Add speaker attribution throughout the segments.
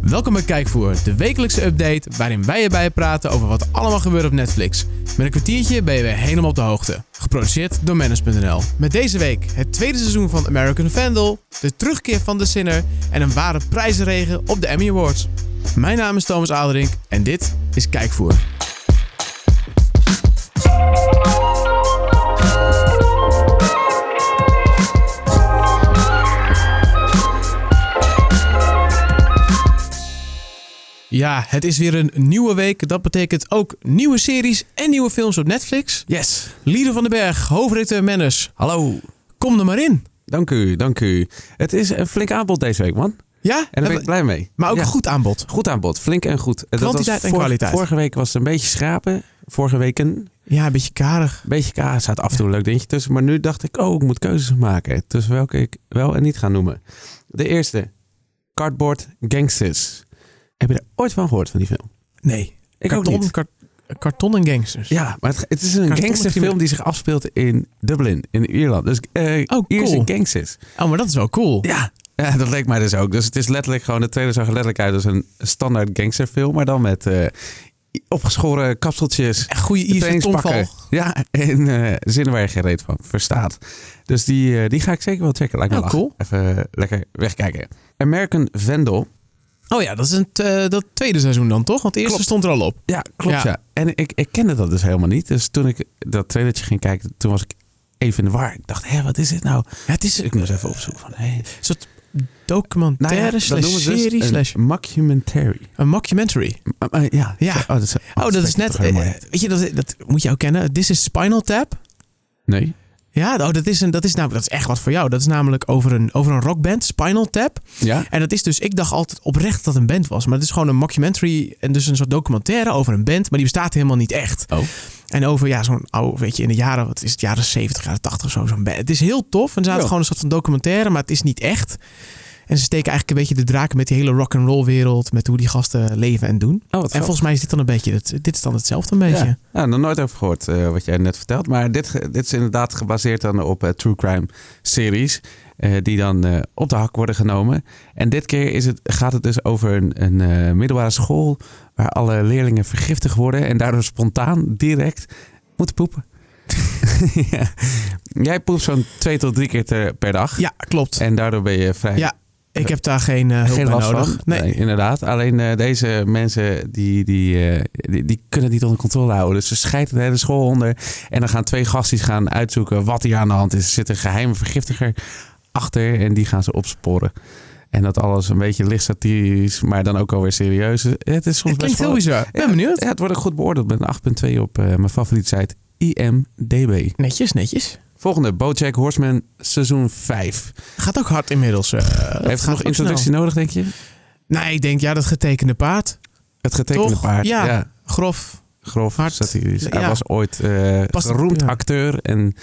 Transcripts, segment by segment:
Speaker 1: Welkom bij Kijkvoer, de wekelijkse update waarin wij erbij praten over wat allemaal gebeurt op Netflix. Met een kwartiertje ben je weer helemaal op de hoogte. Geproduceerd door Manage.nl. Met deze week het tweede seizoen van American Vandal, de terugkeer van The Sinner en een ware prijzenregen op de Emmy Awards. Mijn naam is Thomas Aderink en dit is Kijkvoer. Ja, het is weer een nieuwe week. Dat betekent ook nieuwe series en nieuwe films op Netflix.
Speaker 2: Yes.
Speaker 1: Lieder van den Berg, hoofdredacteur Manners.
Speaker 2: Hallo.
Speaker 1: Kom er maar in.
Speaker 2: Dank u, dank u. Het is een flink aanbod deze week, man.
Speaker 1: Ja,
Speaker 2: En daar ben ik blij mee.
Speaker 1: maar ook
Speaker 2: Ja.
Speaker 1: een goed aanbod.
Speaker 2: Goed aanbod, flink en goed. En
Speaker 1: Kwantiteit en kwaliteit.
Speaker 2: Vorige week was het een beetje schrapen. Vorige week een
Speaker 1: Ja, een beetje karig.
Speaker 2: beetje kaas. Er Zat af en toe een leuk dingetje tussen. Maar nu dacht ik, oh, ik moet keuzes maken. Tussen welke ik wel en niet ga noemen. De eerste. Cardboard Gangsters. Heb je er ooit van gehoord, van die film?
Speaker 1: Nee,
Speaker 2: Ik
Speaker 1: karton, kar- karton en gangsters.
Speaker 2: Ja, maar het, het is een
Speaker 1: Cartoon
Speaker 2: gangsterfilm
Speaker 1: misschien-
Speaker 2: die zich afspeelt in Dublin, in Ierland. Dus eh
Speaker 1: cool.
Speaker 2: Ierse gangsters.
Speaker 1: Oh, maar dat is wel cool.
Speaker 2: Ja. ja, dat leek mij dus ook. Dus het is letterlijk gewoon, de trailer zag er letterlijk uit als een standaard gangsterfilm, maar dan met eh, opgeschoren kapseltjes.
Speaker 1: Echt goede Ierse
Speaker 2: trainingspakken.
Speaker 1: tongval.
Speaker 2: Ja, en eh zinnen waar je geen reet van verstaat. Dus die, eh, die ga ik zeker wel checken. Lijkt me
Speaker 1: Oh,
Speaker 2: lachen.
Speaker 1: cool.
Speaker 2: Even eh, lekker wegkijken. American Vandal.
Speaker 1: Oh ja, dat is een t- eh, dat tweede seizoen dan toch? Want het eerste
Speaker 2: Klopt.
Speaker 1: stond er al op.
Speaker 2: Ja,
Speaker 1: Ja.
Speaker 2: klopt ja. En ik, ik kende dat dus helemaal niet. Dus toen ik dat trailertje ging kijken, toen was ik even in de war. Ik dacht, hé, wat is dit nou?
Speaker 1: Ja, het is
Speaker 2: Dus ik moest even opzoeken van, hé.
Speaker 1: een soort documentaire
Speaker 2: dat
Speaker 1: slash
Speaker 2: noemen ze dus
Speaker 1: serie
Speaker 2: een
Speaker 1: slash
Speaker 2: mockumentary.
Speaker 1: een mockumentary.
Speaker 2: Maar- maar ja,
Speaker 1: Eh, Ja.
Speaker 2: Oh, dat is,
Speaker 1: Oh, dat is net... eh, weet je, dat, dat moet je ook kennen. This is Spinal Tap.
Speaker 2: nee.
Speaker 1: Ja, oh, dat, is een, dat, is namelijk, dat is echt wat voor jou. Dat is namelijk over een, over een rockband, Spinal Tap.
Speaker 2: Ja.
Speaker 1: En dat is dus, ik dacht altijd oprecht dat het een band was. Maar het is gewoon een mockumentary. En dus een soort documentaire over een band. Maar die bestaat helemaal niet echt.
Speaker 2: Oh.
Speaker 1: En over ja, zo'n oude, weet je, in de jaren, wat is het, jaren 70, jaren 80 of zo. Zo'n band. Het is heel tof. En er zaten
Speaker 2: Ja.
Speaker 1: gewoon een soort van documentaire, maar het is niet echt. En ze steken eigenlijk een beetje de draken met die hele rock'n'roll wereld. Met hoe die gasten leven en doen.
Speaker 2: Oh, wat
Speaker 1: En volgens mij is dit dan een beetje, het- dit is dan hetzelfde een beetje.
Speaker 2: Ja, nou, nog nooit over gehoord eh, wat jij net vertelt. Maar dit, ge- dit is inderdaad gebaseerd dan op eh, true crime series. eh, die dan eh, op de hak worden genomen. En dit keer is het, gaat het dus over een, een eh, middelbare school. waar alle leerlingen vergiftigd worden. en daardoor spontaan, direct moeten poepen. ja. Jij poept zo'n twee tot drie keer te- per dag.
Speaker 1: Ja, klopt.
Speaker 2: En daardoor ben je vrij
Speaker 1: Ja, ik heb daar geen eh, hulp
Speaker 2: Geen
Speaker 1: bij
Speaker 2: last
Speaker 1: nodig.
Speaker 2: van.
Speaker 1: Nee.
Speaker 2: Nee. inderdaad. Alleen eh, deze mensen die, die, eh, die, die kunnen het niet onder controle houden. Dus ze scheiden de hele school onder. En dan gaan twee gasties gaan uitzoeken wat hier aan de hand is. Er zit een geheime vergiftiger achter en die gaan ze opsporen. En dat alles een beetje licht satirisch, maar dan ook alweer serieus. Het is soms
Speaker 1: Het klinkt
Speaker 2: best
Speaker 1: heel
Speaker 2: wel...
Speaker 1: bizar. Ik ben benieuwd.
Speaker 2: Ja, het wordt ook goed beoordeeld met een 8.2 op eh, mijn favoriete site IMDB.
Speaker 1: Netjes, netjes.
Speaker 2: Volgende, Bojack Horseman seizoen 5.
Speaker 1: Gaat ook hard inmiddels. eh, dat
Speaker 2: Heeft
Speaker 1: gaat
Speaker 2: het nog
Speaker 1: ook
Speaker 2: introductie
Speaker 1: snel.
Speaker 2: nodig, denk je?
Speaker 1: Nee, ik denk ja, dat getekende paard.
Speaker 2: Het getekende
Speaker 1: Toch?
Speaker 2: paard.
Speaker 1: Ja.
Speaker 2: ja.
Speaker 1: Grof.
Speaker 2: grof
Speaker 1: Hard.
Speaker 2: satirisch. Hij
Speaker 1: Ja.
Speaker 2: was ooit eh
Speaker 1: Pas-
Speaker 2: geroemd
Speaker 1: ja.
Speaker 2: acteur en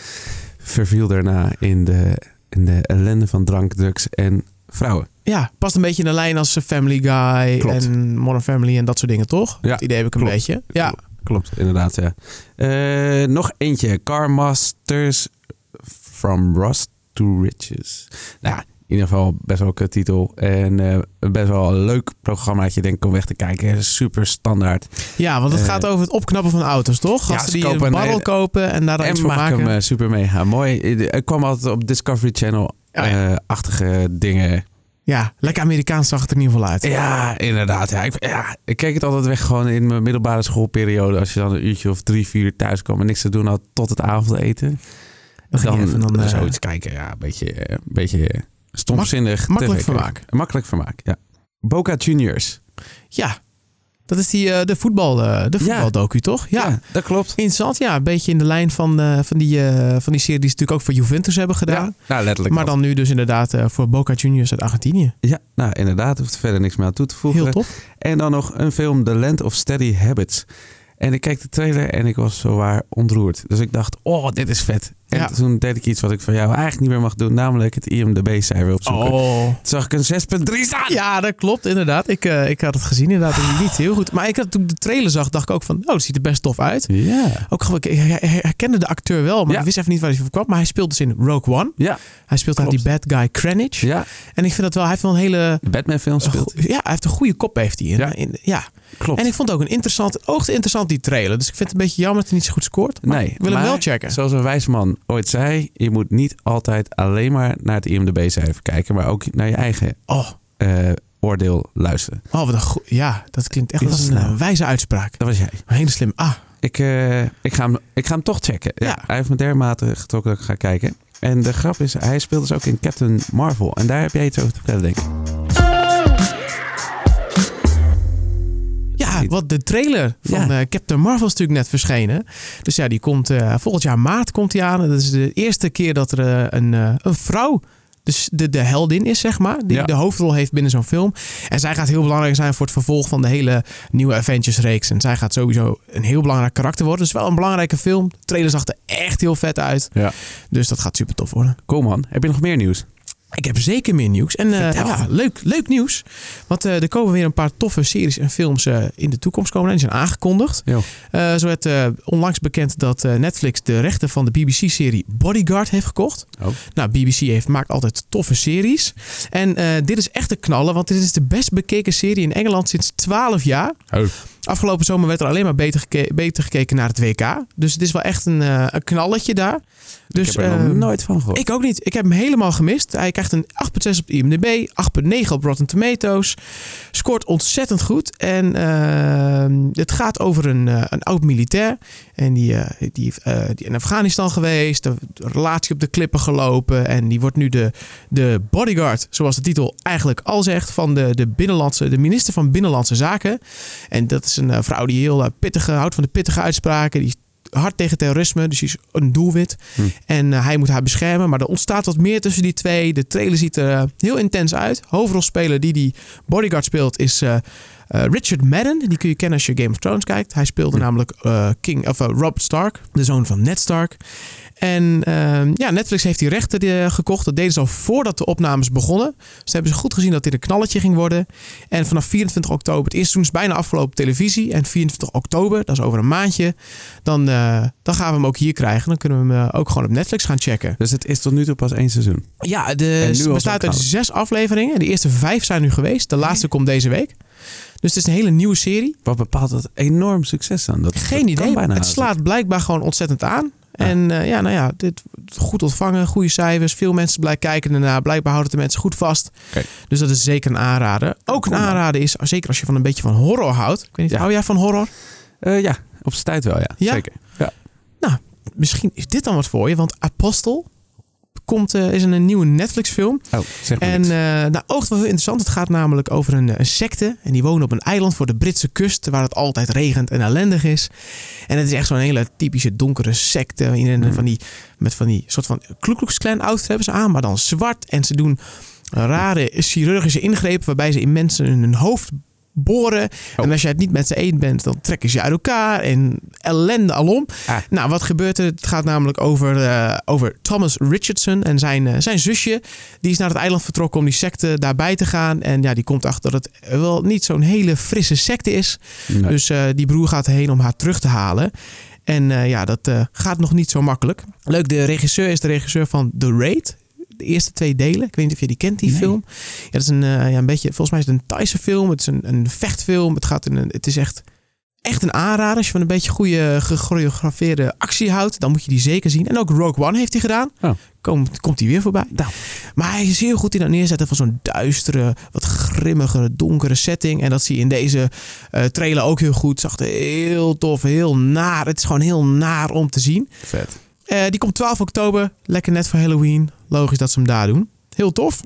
Speaker 2: verviel daarna in de, in de ellende van drank, drugs en vrouwen.
Speaker 1: Ja, past een beetje in de lijn als eh, Family Guy
Speaker 2: Klopt.
Speaker 1: en Modern Family en dat soort dingen, toch?
Speaker 2: Ja,
Speaker 1: Dat idee heb ik een
Speaker 2: klopt.
Speaker 1: beetje. Ja.
Speaker 2: Klopt, inderdaad. Ja. Eh, nog eentje. Car Masters from Rust to Riches. Nou, ja, in ieder geval best wel een kut titel. En eh, best wel een leuk programmaatje, denk ik, om weg te kijken. Super standaard.
Speaker 1: ja, want het
Speaker 2: Eh.
Speaker 1: gaat over het opknappen van auto's, toch?
Speaker 2: Ja,
Speaker 1: Gasten
Speaker 2: ze
Speaker 1: die
Speaker 2: kopen
Speaker 1: een
Speaker 2: een
Speaker 1: barrel
Speaker 2: hele-
Speaker 1: kopen en daar dan iets
Speaker 2: en
Speaker 1: van
Speaker 2: maak
Speaker 1: maken.
Speaker 2: hem eh, super mega mooi. Eh, Er kwam altijd op Discovery
Speaker 1: Ja, ja.
Speaker 2: Channel-achtige dingen
Speaker 1: Ja, lekker Amerikaans zag het er in ieder geval uit.
Speaker 2: Ja, inderdaad. Ja. Ik, ja, ik keek het altijd weg gewoon in mijn middelbare schoolperiode. Als je dan een uurtje of drie, vier uur thuis kwam en niks te doen had tot het avondeten.
Speaker 1: Dan ging je even dan, eh,
Speaker 2: zoiets kijken. Ja, een beetje, eh, een beetje eh, stomzinnig.
Speaker 1: makkelijk
Speaker 2: TV kijken.
Speaker 1: vermaak.
Speaker 2: Makkelijk vermaak, ja. Boca Juniors.
Speaker 1: Ja, dat is die, eh, de, voetbal, eh, de
Speaker 2: Ja.
Speaker 1: voetbaldocu, toch? ja.
Speaker 2: dat klopt.
Speaker 1: Interessant, ja. Een beetje in de lijn van, eh, van, die, eh, van die serie die ze natuurlijk ook voor Juventus hebben gedaan.
Speaker 2: Ja, nou, letterlijk.
Speaker 1: maar
Speaker 2: dat.
Speaker 1: dan nu dus inderdaad eh, voor Boca Juniors uit Argentinië.
Speaker 2: Ja, nou, inderdaad. Hoeft verder niks meer aan toe te voegen.
Speaker 1: Heel tof.
Speaker 2: En dan nog een film, The Land of Steady Habits. En ik keek de trailer en ik was zowaar ontroerd. Dus ik dacht, oh, dit is vet. En
Speaker 1: Ja.
Speaker 2: toen deed ik iets wat ik van jou eigenlijk niet meer mag doen, namelijk het IMDB-cijfer opzoeken.
Speaker 1: Oh.
Speaker 2: Toen zag ik een 6.3 staan.
Speaker 1: Ja, dat klopt inderdaad. Ik, eh, ik had het gezien inderdaad en niet heel goed. Maar ik had, toen ik de trailer zag, dacht ik ook van, oh, dat ziet er best tof uit.
Speaker 2: Ja.
Speaker 1: Ook gewoon, ik hij- hij herkende de acteur wel, maar
Speaker 2: Ja.
Speaker 1: ik wist even niet waar hij van kwam. Maar hij speelt dus in Rogue One.
Speaker 2: Ja.
Speaker 1: Hij speelt daar die
Speaker 2: Klopt.
Speaker 1: bad guy Krennic.
Speaker 2: Ja.
Speaker 1: En ik vind dat wel, hij heeft wel een hele...
Speaker 2: De
Speaker 1: Oh,
Speaker 2: Batman-film speelt.
Speaker 1: go- Ja, hij heeft een goede kop, heeft hij. In,
Speaker 2: Ja.
Speaker 1: in- ja.
Speaker 2: Klopt.
Speaker 1: En ik vond het ook een interessant, oogst interessant die trailer. Dus ik vind het een beetje jammer dat hij niet zo goed scoort. Maar
Speaker 2: Nee,
Speaker 1: ik wil hem
Speaker 2: maar
Speaker 1: wel checken.
Speaker 2: Zoals een wijs man ooit zei, je moet niet altijd alleen maar naar het IMDb-cijfer kijken, maar ook naar je eigen
Speaker 1: Oh,
Speaker 2: eh, oordeel luisteren.
Speaker 1: oh wat een goe- Ja, dat klinkt echt
Speaker 2: Dit
Speaker 1: als
Speaker 2: is
Speaker 1: een
Speaker 2: nou-
Speaker 1: eh, wijze uitspraak.
Speaker 2: Dat was jij.
Speaker 1: Een hele slim. Ah,
Speaker 2: Ik, eh, ik, ga, hem, ik ga hem toch checken. Ja,
Speaker 1: Ja.
Speaker 2: Hij heeft me dermate getrokken dat ik ga kijken. En de grap is, hij speelt dus ook in Captain Marvel. En daar heb jij iets over te vertellen, denk ik.
Speaker 1: Ja,
Speaker 2: Niet.
Speaker 1: wat de trailer van
Speaker 2: Ja.
Speaker 1: eh, Captain Marvel is natuurlijk net verschenen. Dus ja, die komt eh, volgend jaar maart komt die aan. Dat is de eerste keer dat er eh, een, eh, een vrouw dus de, de heldin is, zeg maar. Die
Speaker 2: Ja.
Speaker 1: de hoofdrol heeft binnen zo'n film. En zij gaat heel belangrijk zijn voor het vervolg van de hele nieuwe Avengers-reeks. En zij gaat sowieso een heel belangrijk karakter worden. Dus wel een belangrijke film. De trailer zag er echt heel vet uit.
Speaker 2: Ja.
Speaker 1: Dus dat gaat super tof worden.
Speaker 2: Kom man, heb je nog meer nieuws?
Speaker 1: Ik heb zeker meer nieuws. En eh,
Speaker 2: Vertel.
Speaker 1: ja, leuk, leuk nieuws. Want eh, er komen weer een paar toffe series en films eh, in de toekomst komen. En die zijn aangekondigd.
Speaker 2: Jo.
Speaker 1: Eh, zo werd eh, onlangs bekend dat eh, Netflix de rechten van de BBC-serie Bodyguard heeft gekocht.
Speaker 2: Oh.
Speaker 1: Nou, BBC heeft, maakt altijd toffe series. En eh, dit is echt een knallen, want dit is de best bekeken serie in Engeland sinds 12 jaar. Afgelopen zomer werd er alleen maar beter, geke- beter gekeken naar het WK. Dus het is wel echt een, eh, een knalletje daar. Dus,
Speaker 2: ik heb er nog
Speaker 1: ehm,
Speaker 2: nooit van gehoord.
Speaker 1: ik ook niet. Ik heb hem helemaal gemist. Hij krijgt een 8,6 op IMDb, 8,9 op Rotten Tomatoes. Scoort ontzettend goed. En ehm, het gaat over een, eh, een oud militair. En die, eh, die, eh, die in Afghanistan geweest, de relatie op de klippen gelopen. En die wordt nu de, de bodyguard, zoals de titel eigenlijk al zegt, van de, de, binnenlandse, de minister van Binnenlandse Zaken. En dat is een eh, vrouw die heel eh, pittige houdt van de pittige uitspraken. Die is hard tegen terrorisme, dus die is een doelwit. En eh, hij moet haar beschermen. Maar er ontstaat wat meer tussen die twee. De trailer ziet er eh, heel intens uit. Hoofdrolspeler die die bodyguard speelt is eh, eh, Richard Madden. Die kun je kennen als je Game of Thrones kijkt. Hij speelde
Speaker 2: Hm.
Speaker 1: namelijk eh, King, of, eh, Rob Stark, de zoon van Ned Stark. En ehm, ja, Netflix heeft die rechten eh, gekocht. Dat deden ze al voordat de opnames begonnen. Dus hebben ze goed gezien dat dit een knalletje ging worden. En vanaf 24 oktober, het eerste seizoen is bijna afgelopen op televisie. En 24 oktober, dat is over een maandje, dan, eh, dan gaan we hem ook hier krijgen. Dan kunnen we hem eh, ook gewoon op Netflix gaan checken.
Speaker 2: Dus het is tot nu toe pas één seizoen.
Speaker 1: Ja,
Speaker 2: En nu
Speaker 1: de,
Speaker 2: al
Speaker 1: het bestaat
Speaker 2: zo'n
Speaker 1: uit
Speaker 2: gouden.
Speaker 1: zes afleveringen. De eerste vijf zijn nu geweest. De laatste komt deze week. Dus het is een hele nieuwe serie.
Speaker 2: Wat bepaalt dat enorm succes dan? Dat, dat
Speaker 1: Geen
Speaker 2: kan
Speaker 1: idee.
Speaker 2: bijna
Speaker 1: Het
Speaker 2: haast
Speaker 1: slaat blijkbaar gewoon ontzettend aan.
Speaker 2: Ja.
Speaker 1: En eh, ja, nou ja, dit goed ontvangen, goede cijfers. Veel mensen blijven kijken ernaar. Blijkbaar houden het de mensen goed vast.
Speaker 2: Oké.
Speaker 1: Dus dat is zeker een aanrader. Ook een
Speaker 2: Kom maar.
Speaker 1: aanrader is, zeker als je van een beetje van horror houdt. Ik weet niet,
Speaker 2: Ja.
Speaker 1: hou jij van horror?
Speaker 2: niet. Eh, ja, op zijn tijd wel, ja.
Speaker 1: Ja?
Speaker 2: Zeker. Ja.
Speaker 1: Misschien is dit dan wat voor je, want Apostel komt, eh, is een nieuwe Netflix film.
Speaker 2: Oh, zeg maar
Speaker 1: En
Speaker 2: niks.
Speaker 1: eh nou, oogt wel heel interessant. Het gaat namelijk over een, eh, een secte. En die wonen op een eiland voor de Britse kust. Waar het altijd regent en ellendig is. En het is echt zo'n hele typische donkere secte. Iedereen
Speaker 2: Hmm.
Speaker 1: van die, met van die soort van kloekloeksklein outfit hebben ze aan. Maar dan zwart. En ze doen rare chirurgische ingrepen. Waarbij ze in mensen hun hoofd boren.
Speaker 2: Oh.
Speaker 1: En als jij het niet met ze eens bent. Dan trekken ze je uit elkaar. En ellende alom.
Speaker 2: Ah.
Speaker 1: Nou, wat gebeurt er? Het gaat namelijk over, eh, over Thomas Richardson en zijn, eh, zijn zusje. Die is naar het eiland vertrokken om die secte daarbij te gaan. En ja, die komt achter dat het wel niet zo'n hele frisse secte is.
Speaker 2: Nee.
Speaker 1: Dus eh, die broer gaat heen om haar terug te halen. En eh, ja, dat eh, gaat nog niet zo makkelijk. Leuk, de regisseur is de regisseur van The Raid. De eerste twee delen. Ik weet niet of je die kent, die
Speaker 2: Nee.
Speaker 1: film. Ja, dat is een, eh, ja, een beetje, volgens mij is het een Thaise film. Het is een, een vechtfilm. Het, gaat in een, het is echt, echt een aanrader. Als je van een beetje goede gechoreografeerde actie houdt, dan moet je die zeker zien. En ook Rogue One heeft hij gedaan.
Speaker 2: Oh.
Speaker 1: Komt, komt hij weer voorbij.
Speaker 2: Nou.
Speaker 1: Maar hij is heel goed in dat neerzetten van zo'n duistere, wat grimmigere, donkere setting. En dat zie je in deze eh, trailer ook heel goed. Zag er heel tof, heel naar. Het is gewoon heel naar om te zien.
Speaker 2: Vet.
Speaker 1: Eh, die komt 12 oktober. Lekker net voor Halloween. Logisch dat ze hem daar doen. Heel tof.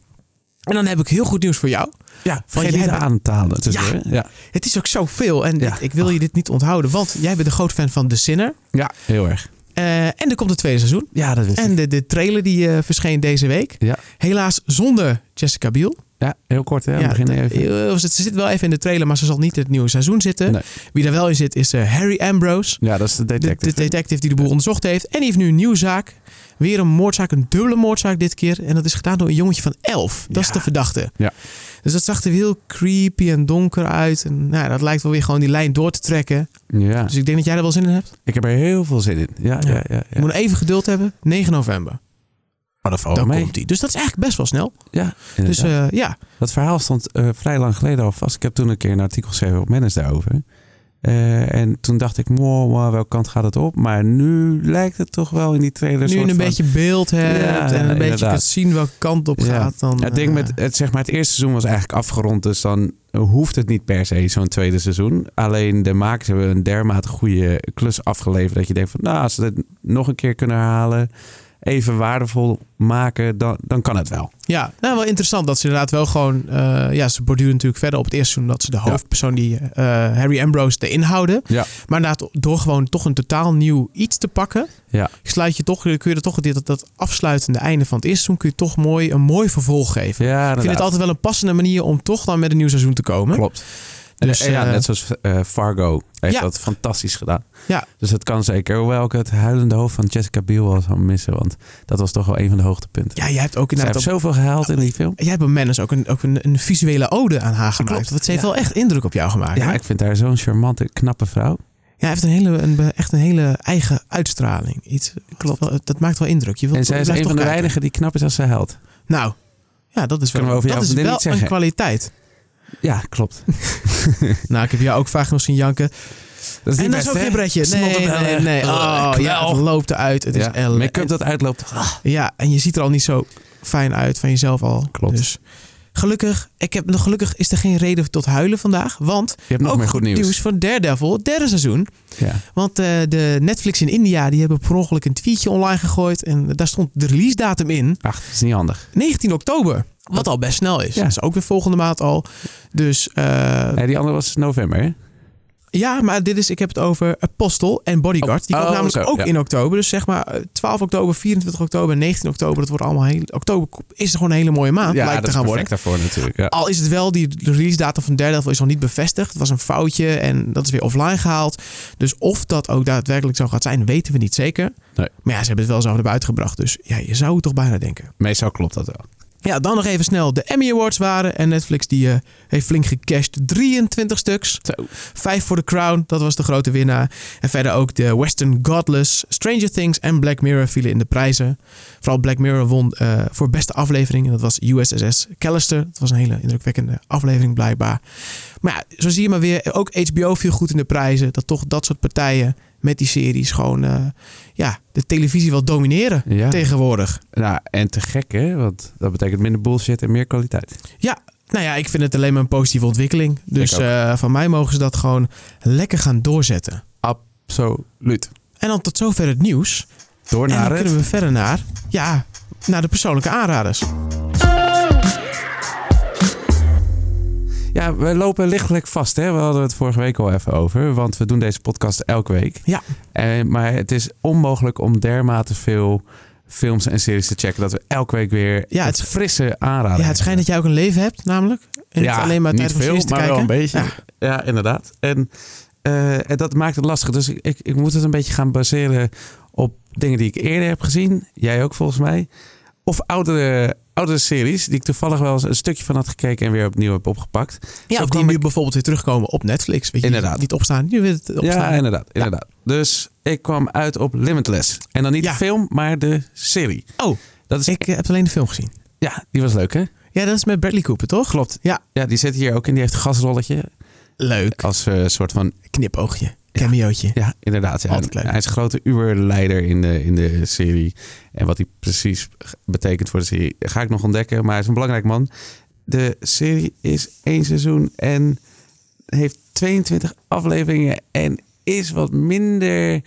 Speaker 1: En dan heb ik heel goed nieuws voor jou.
Speaker 2: Ja, van
Speaker 1: Vergeet
Speaker 2: je
Speaker 1: jij-
Speaker 2: aan te halen. tussendoor, hè? Ja.
Speaker 1: Het is ook zoveel. En dit-
Speaker 2: Ja.
Speaker 1: ik wil je dit niet onthouden. Want jij bent een groot fan van The Sinner.
Speaker 2: ja, heel erg.
Speaker 1: Eh, en er komt het tweede seizoen.
Speaker 2: Ja, dat is
Speaker 1: En de, de trailer die eh, verscheen deze week.
Speaker 2: Ja.
Speaker 1: Helaas zonder Jessica Biel.
Speaker 2: Ja, heel kort hè, aan het begin even.
Speaker 1: eh, ze ze zit wel even in de trailer, maar ze zal niet in het nieuwe seizoen zitten.
Speaker 2: Nee.
Speaker 1: Wie daar wel in zit is eh, Harry Ambrose.
Speaker 2: Ja, dat is de
Speaker 1: De, de
Speaker 2: detective.
Speaker 1: detective die de boel onderzocht heeft. En die heeft nu een nieuwe zaak. Weer een moordzaak, een dubbele moordzaak dit keer. En dat is gedaan door een jongetje van elf. Dat is
Speaker 2: Ja.
Speaker 1: de verdachte.
Speaker 2: Ja.
Speaker 1: Dus dat zag er heel creepy en donker uit. En nou, ja, dat lijkt wel weer gewoon die lijn door te trekken.
Speaker 2: ja,
Speaker 1: Dus ik denk dat jij er wel zin in hebt.
Speaker 2: ik heb er heel veel zin in. Ja, ja, ja. ja,
Speaker 1: Je moet even geduld hebben. 9 november.
Speaker 2: Oh, dat valt
Speaker 1: dan
Speaker 2: wel mee.
Speaker 1: komt die. Dus dat is eigenlijk best wel snel.
Speaker 2: Ja,
Speaker 1: Dus
Speaker 2: inderdaad.
Speaker 1: eh, ja,
Speaker 2: Dat verhaal stond eh, vrij lang geleden al vast. Ik heb toen een keer een artikel geschreven op Manage daarover. Eh, en toen dacht ik, mooi, welke kant gaat het op? Maar nu lijkt het toch wel in die trailer
Speaker 1: nu
Speaker 2: soort
Speaker 1: je een
Speaker 2: van-
Speaker 1: beetje beeld hebt
Speaker 2: Ja,
Speaker 1: en een beetje
Speaker 2: inderdaad.
Speaker 1: kunt zien welke kant op
Speaker 2: Ja.
Speaker 1: gaat. Dan,
Speaker 2: Ja, het ding
Speaker 1: eh,
Speaker 2: met het, zeg maar, het eerste seizoen was eigenlijk afgerond. Dus dan hoeft het niet per se zo'n tweede seizoen. Alleen de makers hebben een dermate goede klus afgeleverd. Dat je denkt van, nou, als ze dit nog een keer kunnen herhalen. Even waardevol maken, dan, dan kan het wel.
Speaker 1: Ja, nou wel interessant dat ze inderdaad wel gewoon... eh, ja, ze borduren natuurlijk verder op het eerste seizoen... dat ze de hoofdpersoon, die eh, Harry Ambrose, erin houden.
Speaker 2: Ja.
Speaker 1: Maar inderdaad, door gewoon toch een totaal nieuw iets te pakken...
Speaker 2: Ja.
Speaker 1: Sluit je toch, kun je er toch dit, dat, dat afsluitende einde van het eerste seizoen... kun je toch mooi, een mooi vervolg geven.
Speaker 2: Ja,
Speaker 1: Ik vind het altijd wel een passende manier om toch dan met een nieuw seizoen te komen.
Speaker 2: Klopt.
Speaker 1: Dus,
Speaker 2: Dus, ja,
Speaker 1: eh,
Speaker 2: net zoals eh, Fargo heeft
Speaker 1: Ja.
Speaker 2: dat fantastisch gedaan.
Speaker 1: Ja.
Speaker 2: Dus het kan zeker. Hoewel ik het huilende hoofd van Jessica Biel wel zou missen. Want dat was toch wel een van de hoogtepunten.
Speaker 1: Ja, jij hebt ook
Speaker 2: Ze
Speaker 1: inderdaad...
Speaker 2: heeft
Speaker 1: dat-
Speaker 2: zoveel gehaald in die film.
Speaker 1: Jij hebt bij Manus ook een, ook een, een visuele ode aan haar gemaakt.
Speaker 2: Klopt,
Speaker 1: Want ze heeft
Speaker 2: ja.
Speaker 1: wel echt indruk op jou gemaakt. hè?
Speaker 2: Ja, ik vind haar zo'n charmante, knappe vrouw.
Speaker 1: Ja, hij heeft een hele, een, echt een hele eigen uitstraling. Iets, klopt. Wel, dat maakt wel indruk. Je wilt,
Speaker 2: En zij is
Speaker 1: blijft
Speaker 2: een
Speaker 1: toch
Speaker 2: van de
Speaker 1: kijken.
Speaker 2: weinigen die knap is als ze huilt.
Speaker 1: Nou, ja, dat is wel,
Speaker 2: Kunnen we over
Speaker 1: dat
Speaker 2: jou
Speaker 1: is
Speaker 2: vriendin
Speaker 1: wel
Speaker 2: niet
Speaker 1: een
Speaker 2: zeggen.
Speaker 1: kwaliteit.
Speaker 2: Ja, klopt.
Speaker 1: nou, ik heb jou ook vaak nog zien janken.
Speaker 2: Dat is
Speaker 1: en
Speaker 2: niet
Speaker 1: dat is
Speaker 2: best,
Speaker 1: ook
Speaker 2: hè?
Speaker 1: geen bretje.
Speaker 2: Snot
Speaker 1: Nee,
Speaker 2: op
Speaker 1: nee,
Speaker 2: ellen.
Speaker 1: nee, Oh,
Speaker 2: Knel.
Speaker 1: ja, het loopt eruit. Het
Speaker 2: Ja,
Speaker 1: is Ah, L.
Speaker 2: Make-up dat uitloopt.
Speaker 1: Ja, en je ziet er al niet zo fijn uit van jezelf al.
Speaker 2: Klopt.
Speaker 1: Dus gelukkig, ik heb, gelukkig is er geen reden tot huilen vandaag. Want
Speaker 2: Je hebt nog
Speaker 1: ook
Speaker 2: meer goed nieuws.
Speaker 1: van Daredevil, het derde seizoen.
Speaker 2: Ja.
Speaker 1: Want eh, de Netflix in India die hebben per ongeluk een tweetje online gegooid. En daar stond de release datum in.
Speaker 2: Ach, dat is niet handig.
Speaker 1: 19 oktober. Wat al best snel is.
Speaker 2: Ja.
Speaker 1: Dat is ook weer volgende maand al. Dus eh, Ah,
Speaker 2: Nee, die andere was november, hè?
Speaker 1: ja, maar dit is, ik heb het over Apostel en Bodyguard. Die
Speaker 2: Oh,
Speaker 1: komt namelijk
Speaker 2: zo,
Speaker 1: ook
Speaker 2: ja.
Speaker 1: in oktober. Dus zeg maar eh, 12 oktober, 24 oktober, 19 oktober. Dat wordt allemaal heel... Oktober is er gewoon een hele mooie maand.
Speaker 2: ja,
Speaker 1: lijkt
Speaker 2: dat
Speaker 1: te
Speaker 2: is
Speaker 1: gaan
Speaker 2: perfect
Speaker 1: worden. Ah.
Speaker 2: daarvoor natuurlijk. Ja.
Speaker 1: Al is het wel, die release datum van Daredevil is nog niet bevestigd. Het was een foutje en dat is weer offline gehaald. Dus of dat ook daadwerkelijk zo gaat zijn, weten we niet zeker.
Speaker 2: Nee.
Speaker 1: Maar ja, ze hebben het wel zo naar buiten gebracht. Dus ja, je zou het toch bijna denken.
Speaker 2: Meestal klopt dat wel.
Speaker 1: Ja, dan nog even snel. De Emmy Awards waren en Netflix die eh, heeft flink gecashed. 23 stuks.
Speaker 2: Zo.
Speaker 1: Vijf voor The Crown, dat was de grote winnaar. En verder ook de Western Godless, Stranger Things en Black Mirror vielen in de prijzen. Vooral Black Mirror won eh, voor beste aflevering. En dat was USS Callister. Dat was een hele indrukwekkende aflevering blijkbaar. Maar ja, zo zie je maar weer. Ook HBO viel goed in de prijzen. Dat toch dat soort partijen met die series gewoon eh, ja, de televisie wel domineren
Speaker 2: Ja.
Speaker 1: tegenwoordig.
Speaker 2: Nou, en te gek, hè? Want dat betekent minder bullshit en meer kwaliteit.
Speaker 1: Nou ja, ik vind het alleen maar een positieve ontwikkeling. Dus
Speaker 2: Ik ook.
Speaker 1: eh, van mij mogen ze dat gewoon lekker gaan doorzetten.
Speaker 2: Absoluut.
Speaker 1: En dan tot zover het nieuws.
Speaker 2: Door
Speaker 1: En
Speaker 2: naar
Speaker 1: dan
Speaker 2: het...
Speaker 1: kunnen we verder naar, ja, naar de persoonlijke
Speaker 2: Ah,
Speaker 1: aanraders.
Speaker 2: Ja, we lopen lichtelijk vast, hè? We hadden het vorige week al even over. Want we doen deze podcast elke week.
Speaker 1: Ja.
Speaker 2: Eh, maar het is onmogelijk om dermate veel films en series te checken... dat we elke week weer
Speaker 1: Ja,
Speaker 2: ja,
Speaker 1: het-
Speaker 2: het frisse aanraden.
Speaker 1: ja, het schijnt dat jij ook een leven hebt namelijk. En niet alleen maar
Speaker 2: niet
Speaker 1: tijd om
Speaker 2: veel,
Speaker 1: series te
Speaker 2: maar
Speaker 1: kijken.
Speaker 2: wel een beetje.
Speaker 1: Ja.
Speaker 2: Ja, inderdaad. En, eh, en dat maakt het lastig. Dus ik, ik, ik moet het een beetje gaan baseren op dingen die ik eerder heb gezien. Jij ook volgens mij. Of oudere, oudere series die ik toevallig wel eens een stukje van had gekeken... en weer opnieuw heb opgepakt.
Speaker 1: Ja,
Speaker 2: Zo
Speaker 1: of die
Speaker 2: kwam
Speaker 1: nu bijvoorbeeld weer terugkomen op Netflix. Weet je,
Speaker 2: Inderdaad.
Speaker 1: Niet opstaan, nu weer het opstaan.
Speaker 2: Ja, inderdaad. inderdaad. Dus ik kwam uit op Limitless. En dan niet
Speaker 1: Ja.
Speaker 2: de film, maar de serie.
Speaker 1: Oh,
Speaker 2: Dat is,
Speaker 1: ik eh, heb alleen de film gezien.
Speaker 2: ja, die was leuk hè?
Speaker 1: Ja, dat is met Bradley Cooper, toch? Klopt. Ja,
Speaker 2: Ja, die zit hier ook in. Die heeft een gasrolletje.
Speaker 1: leuk.
Speaker 2: Als eh, soort van,
Speaker 1: Knipoogje, cameootje.
Speaker 2: ja, inderdaad. Ja.
Speaker 1: Altijd leuk.
Speaker 2: Hij is een grote Uber-leider in de, in de serie. En wat hij precies betekent voor de serie ga ik nog ontdekken. Maar hij is een belangrijk man. De serie is één seizoen en heeft 22 afleveringen. En is wat minder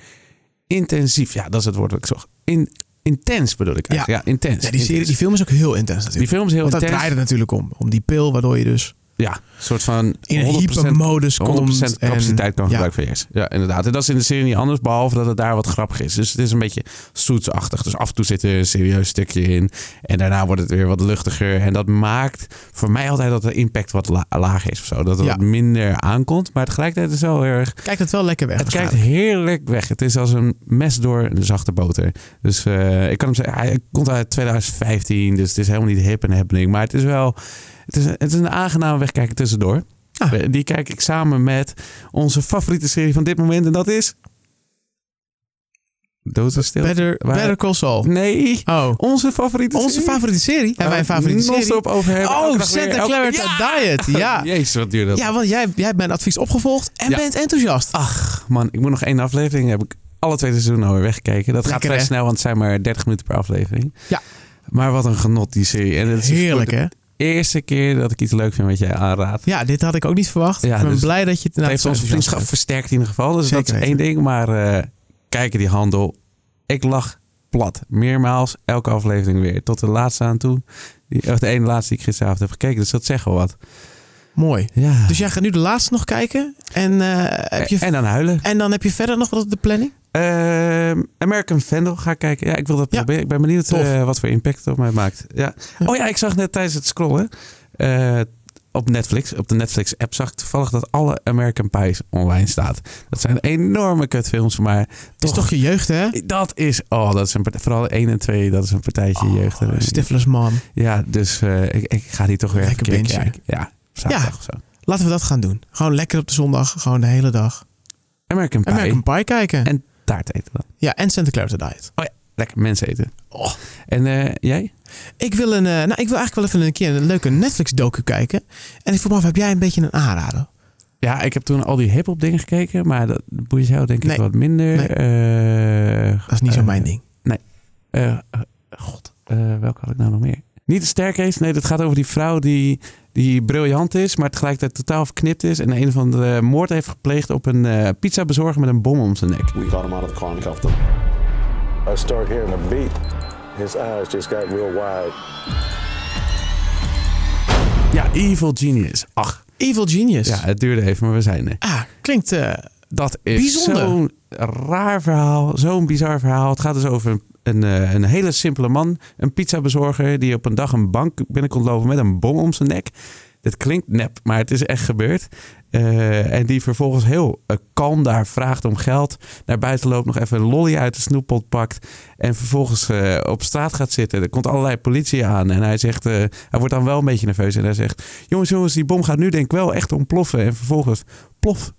Speaker 2: intensief. Ja, dat is het woord dat ik zocht. In, intens bedoel ik eigenlijk. Ja, intens.
Speaker 1: Ja, die, serie, die
Speaker 2: Intens.
Speaker 1: film is ook heel intens natuurlijk.
Speaker 2: Die film is heel
Speaker 1: Want dat
Speaker 2: intens.
Speaker 1: draait het natuurlijk om. Om die pil, waardoor je dus
Speaker 2: ja, een soort van
Speaker 1: In een
Speaker 2: 100%,
Speaker 1: hypermodus
Speaker 2: 100%
Speaker 1: komt. en-
Speaker 2: capaciteit kan
Speaker 1: ja.
Speaker 2: gebruiken van JS. Ja, inderdaad. En dat is in de serie niet anders, behalve dat het daar wat grappig is. Dus het is een beetje zoetsachtig. Dus af en toe zit er een serieus stukje in. En daarna wordt het weer wat luchtiger. En dat maakt voor mij altijd dat de impact wat la- laag is of zo. Dat het
Speaker 1: Ja.
Speaker 2: wat minder aankomt. Maar tegelijkertijd is het wel heel erg
Speaker 1: Kijkt het wel lekker weg.
Speaker 2: het kijkt
Speaker 1: waarschijnlijk.
Speaker 2: heerlijk weg. Het is als een mes door een zachte boter. Dus eh, ik kan hem zeggen, hij komt uit 2015, dus het is helemaal niet hip en happening. Maar het is wel, het is, het is een aangename wegkijken tussendoor.
Speaker 1: Ah.
Speaker 2: Eh, Die kijk ik samen met onze favoriete serie van dit moment en dat is... Dood is stil.
Speaker 1: Better,
Speaker 2: Waar-
Speaker 1: better Call Saul.
Speaker 2: Nee,
Speaker 1: Oh,
Speaker 2: onze favoriete
Speaker 1: onze
Speaker 2: serie.
Speaker 1: favoriete serie. Hebben wij een favoriete serie?
Speaker 2: Non-stop over hebben.
Speaker 1: Oh,
Speaker 2: Elke dag weer,
Speaker 1: Santa
Speaker 2: elke-
Speaker 1: Clarita Diet. Ja.
Speaker 2: Ja. Jezus, wat duurde dat.
Speaker 1: Ja, want jij, jij hebt mijn advies opgevolgd en
Speaker 2: Ja. Ah,
Speaker 1: bent enthousiast.
Speaker 2: Ach man, ik moet nog één aflevering. Heb ik alle twee seizoenen alweer weggekeken. Dat gaat
Speaker 1: Lekker,
Speaker 2: vrij
Speaker 1: hè?
Speaker 2: snel, want het zijn maar 30 minuten per aflevering.
Speaker 1: Ja.
Speaker 2: Maar wat een genot die serie. En het is dus
Speaker 1: Heerlijk,
Speaker 2: voor
Speaker 1: hè?
Speaker 2: de eerste keer dat ik iets leuk vind wat jij aanraadt.
Speaker 1: Ja, dit had ik ook niet verwacht.
Speaker 2: Ja,
Speaker 1: ik ben
Speaker 2: dus
Speaker 1: blij dat je het
Speaker 2: het
Speaker 1: nou
Speaker 2: heeft onze vriendschap versterkt in ieder geval. Dus
Speaker 1: Zeker
Speaker 2: dat is één ding. Maar eh, kijken die handel. Ik lag plat. Meermaals. Elke aflevering weer. Tot de laatste aan toe. Die, of de ene laatste die ik gisteravond heb gekeken. Dus dat zegt wel wat.
Speaker 1: Mooi.
Speaker 2: Ja.
Speaker 1: Dus jij gaat nu de laatste nog kijken. En, eh, heb je, en,
Speaker 2: En dan huilen.
Speaker 1: dan heb je verder nog wat op de planning?
Speaker 2: Ehm, American Vandal ga ik kijken. Ja, ik wil dat
Speaker 1: Ja.
Speaker 2: proberen. Ik ben benieuwd
Speaker 1: Tof. Hm.
Speaker 2: eh, wat voor impact het op mij maakt. Ja.
Speaker 1: Ja.
Speaker 2: Oh ja, ik zag net tijdens het scrollen eh, op Netflix, op de Netflix-app zag ik toevallig dat alle American Pies online staat. Dat zijn enorme kutfilms, maar
Speaker 1: Het is
Speaker 2: toch,
Speaker 1: toch je jeugd, hè?
Speaker 2: dat is, oh, dat is een partij, vooral 1 en 2, dat is een partijtje jeugd.
Speaker 1: Oh, Stifler's man.
Speaker 2: Ja, dus eh, ik, ik ga die toch weer
Speaker 1: Lekker
Speaker 2: even een keer
Speaker 1: bingen.
Speaker 2: kijken. Ja, zaterdag
Speaker 1: Ja.
Speaker 2: of zo.
Speaker 1: Laten we dat gaan doen. Gewoon lekker op de zondag. Gewoon de hele dag.
Speaker 2: American Pie,
Speaker 1: American Pie kijken.
Speaker 2: En- taart eten dan.
Speaker 1: ja, en Santa Clarita Diet.
Speaker 2: Lekker mensen eten.
Speaker 1: Oh.
Speaker 2: En eh, jij?
Speaker 1: Ik wil, een, eh, nou, ik wil eigenlijk wel even een keer een leuke Netflix-docu kijken. En ik vroeg me af, heb jij een beetje een aanrader?
Speaker 2: Ja, ik heb toen al die hip-hop dingen gekeken, maar dat boeit jou denk ik
Speaker 1: Nee.
Speaker 2: wat minder.
Speaker 1: Nee.
Speaker 2: Eh,
Speaker 1: Dat is niet zo
Speaker 2: eh,
Speaker 1: mijn ding.
Speaker 2: eh, eh, God, eh, welke had ik nou nog meer? Niet de staircase, nee, dat gaat over die vrouw die, die briljant is, maar tegelijkertijd totaal verknipt is en een of andere moord heeft gepleegd op een eh pizza bezorger met een bom om zijn nek.
Speaker 3: We got him out of the car and cuffed him.
Speaker 4: I start hearing a beat. His eyes just got real wide.
Speaker 2: Ja, Evil Genius. Ach,
Speaker 1: Evil Genius.
Speaker 2: ja, het duurde even, maar we zijn er.
Speaker 1: Ah, klinkt... eh,
Speaker 2: Dat is
Speaker 1: Bijzonder.
Speaker 2: zo'n raar verhaal, zo'n bizar verhaal. Het gaat dus over een, een, eh, een hele simpele man, een pizzabezorger... die op een dag een bank binnenkomt lopen met een bom om zijn nek. Dit klinkt nep, maar het is echt gebeurd. Eh, en die vervolgens heel eh, kalm daar vraagt om geld. Naar buiten loopt, nog even een lolly uit de snoeppot pakt. En vervolgens eh, op straat gaat zitten. Er komt allerlei politie aan. En hij zegt, eh, hij wordt dan wel een beetje nerveus. En hij zegt, jongens, jongens, die bom gaat nu denk ik wel echt ontploffen. En vervolgens, plof,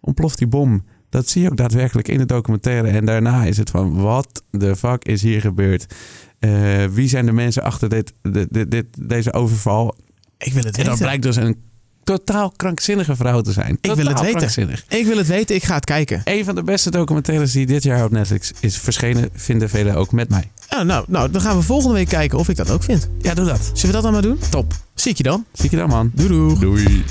Speaker 2: ontploft die bom. Dat zie je ook daadwerkelijk in de documentaire. En daarna is het van, wat de fuck is hier gebeurd? Eh, wie zijn de mensen achter dit, dit, dit, dit- deze overval?
Speaker 1: ik wil het
Speaker 2: En
Speaker 1: weten.
Speaker 2: dat blijkt dus een totaal krankzinnige vrouw te zijn.
Speaker 1: wil het
Speaker 2: Totaal
Speaker 1: weten.
Speaker 2: krankzinnig.
Speaker 1: Ik wil het weten. Ik ga het kijken.
Speaker 2: Een van de beste documentaires die dit jaar op Netflix is verschenen, vinden velen ook met mij.
Speaker 1: Ah, nou, nou, dan gaan we volgende week kijken of ik dat ook vind.
Speaker 2: Ja, doe dat.
Speaker 1: Zullen we dat dan maar doen?
Speaker 2: Top.
Speaker 1: Zie ik je dan.
Speaker 2: Zie ik je dan, man.
Speaker 1: Doei doei.
Speaker 2: Doei.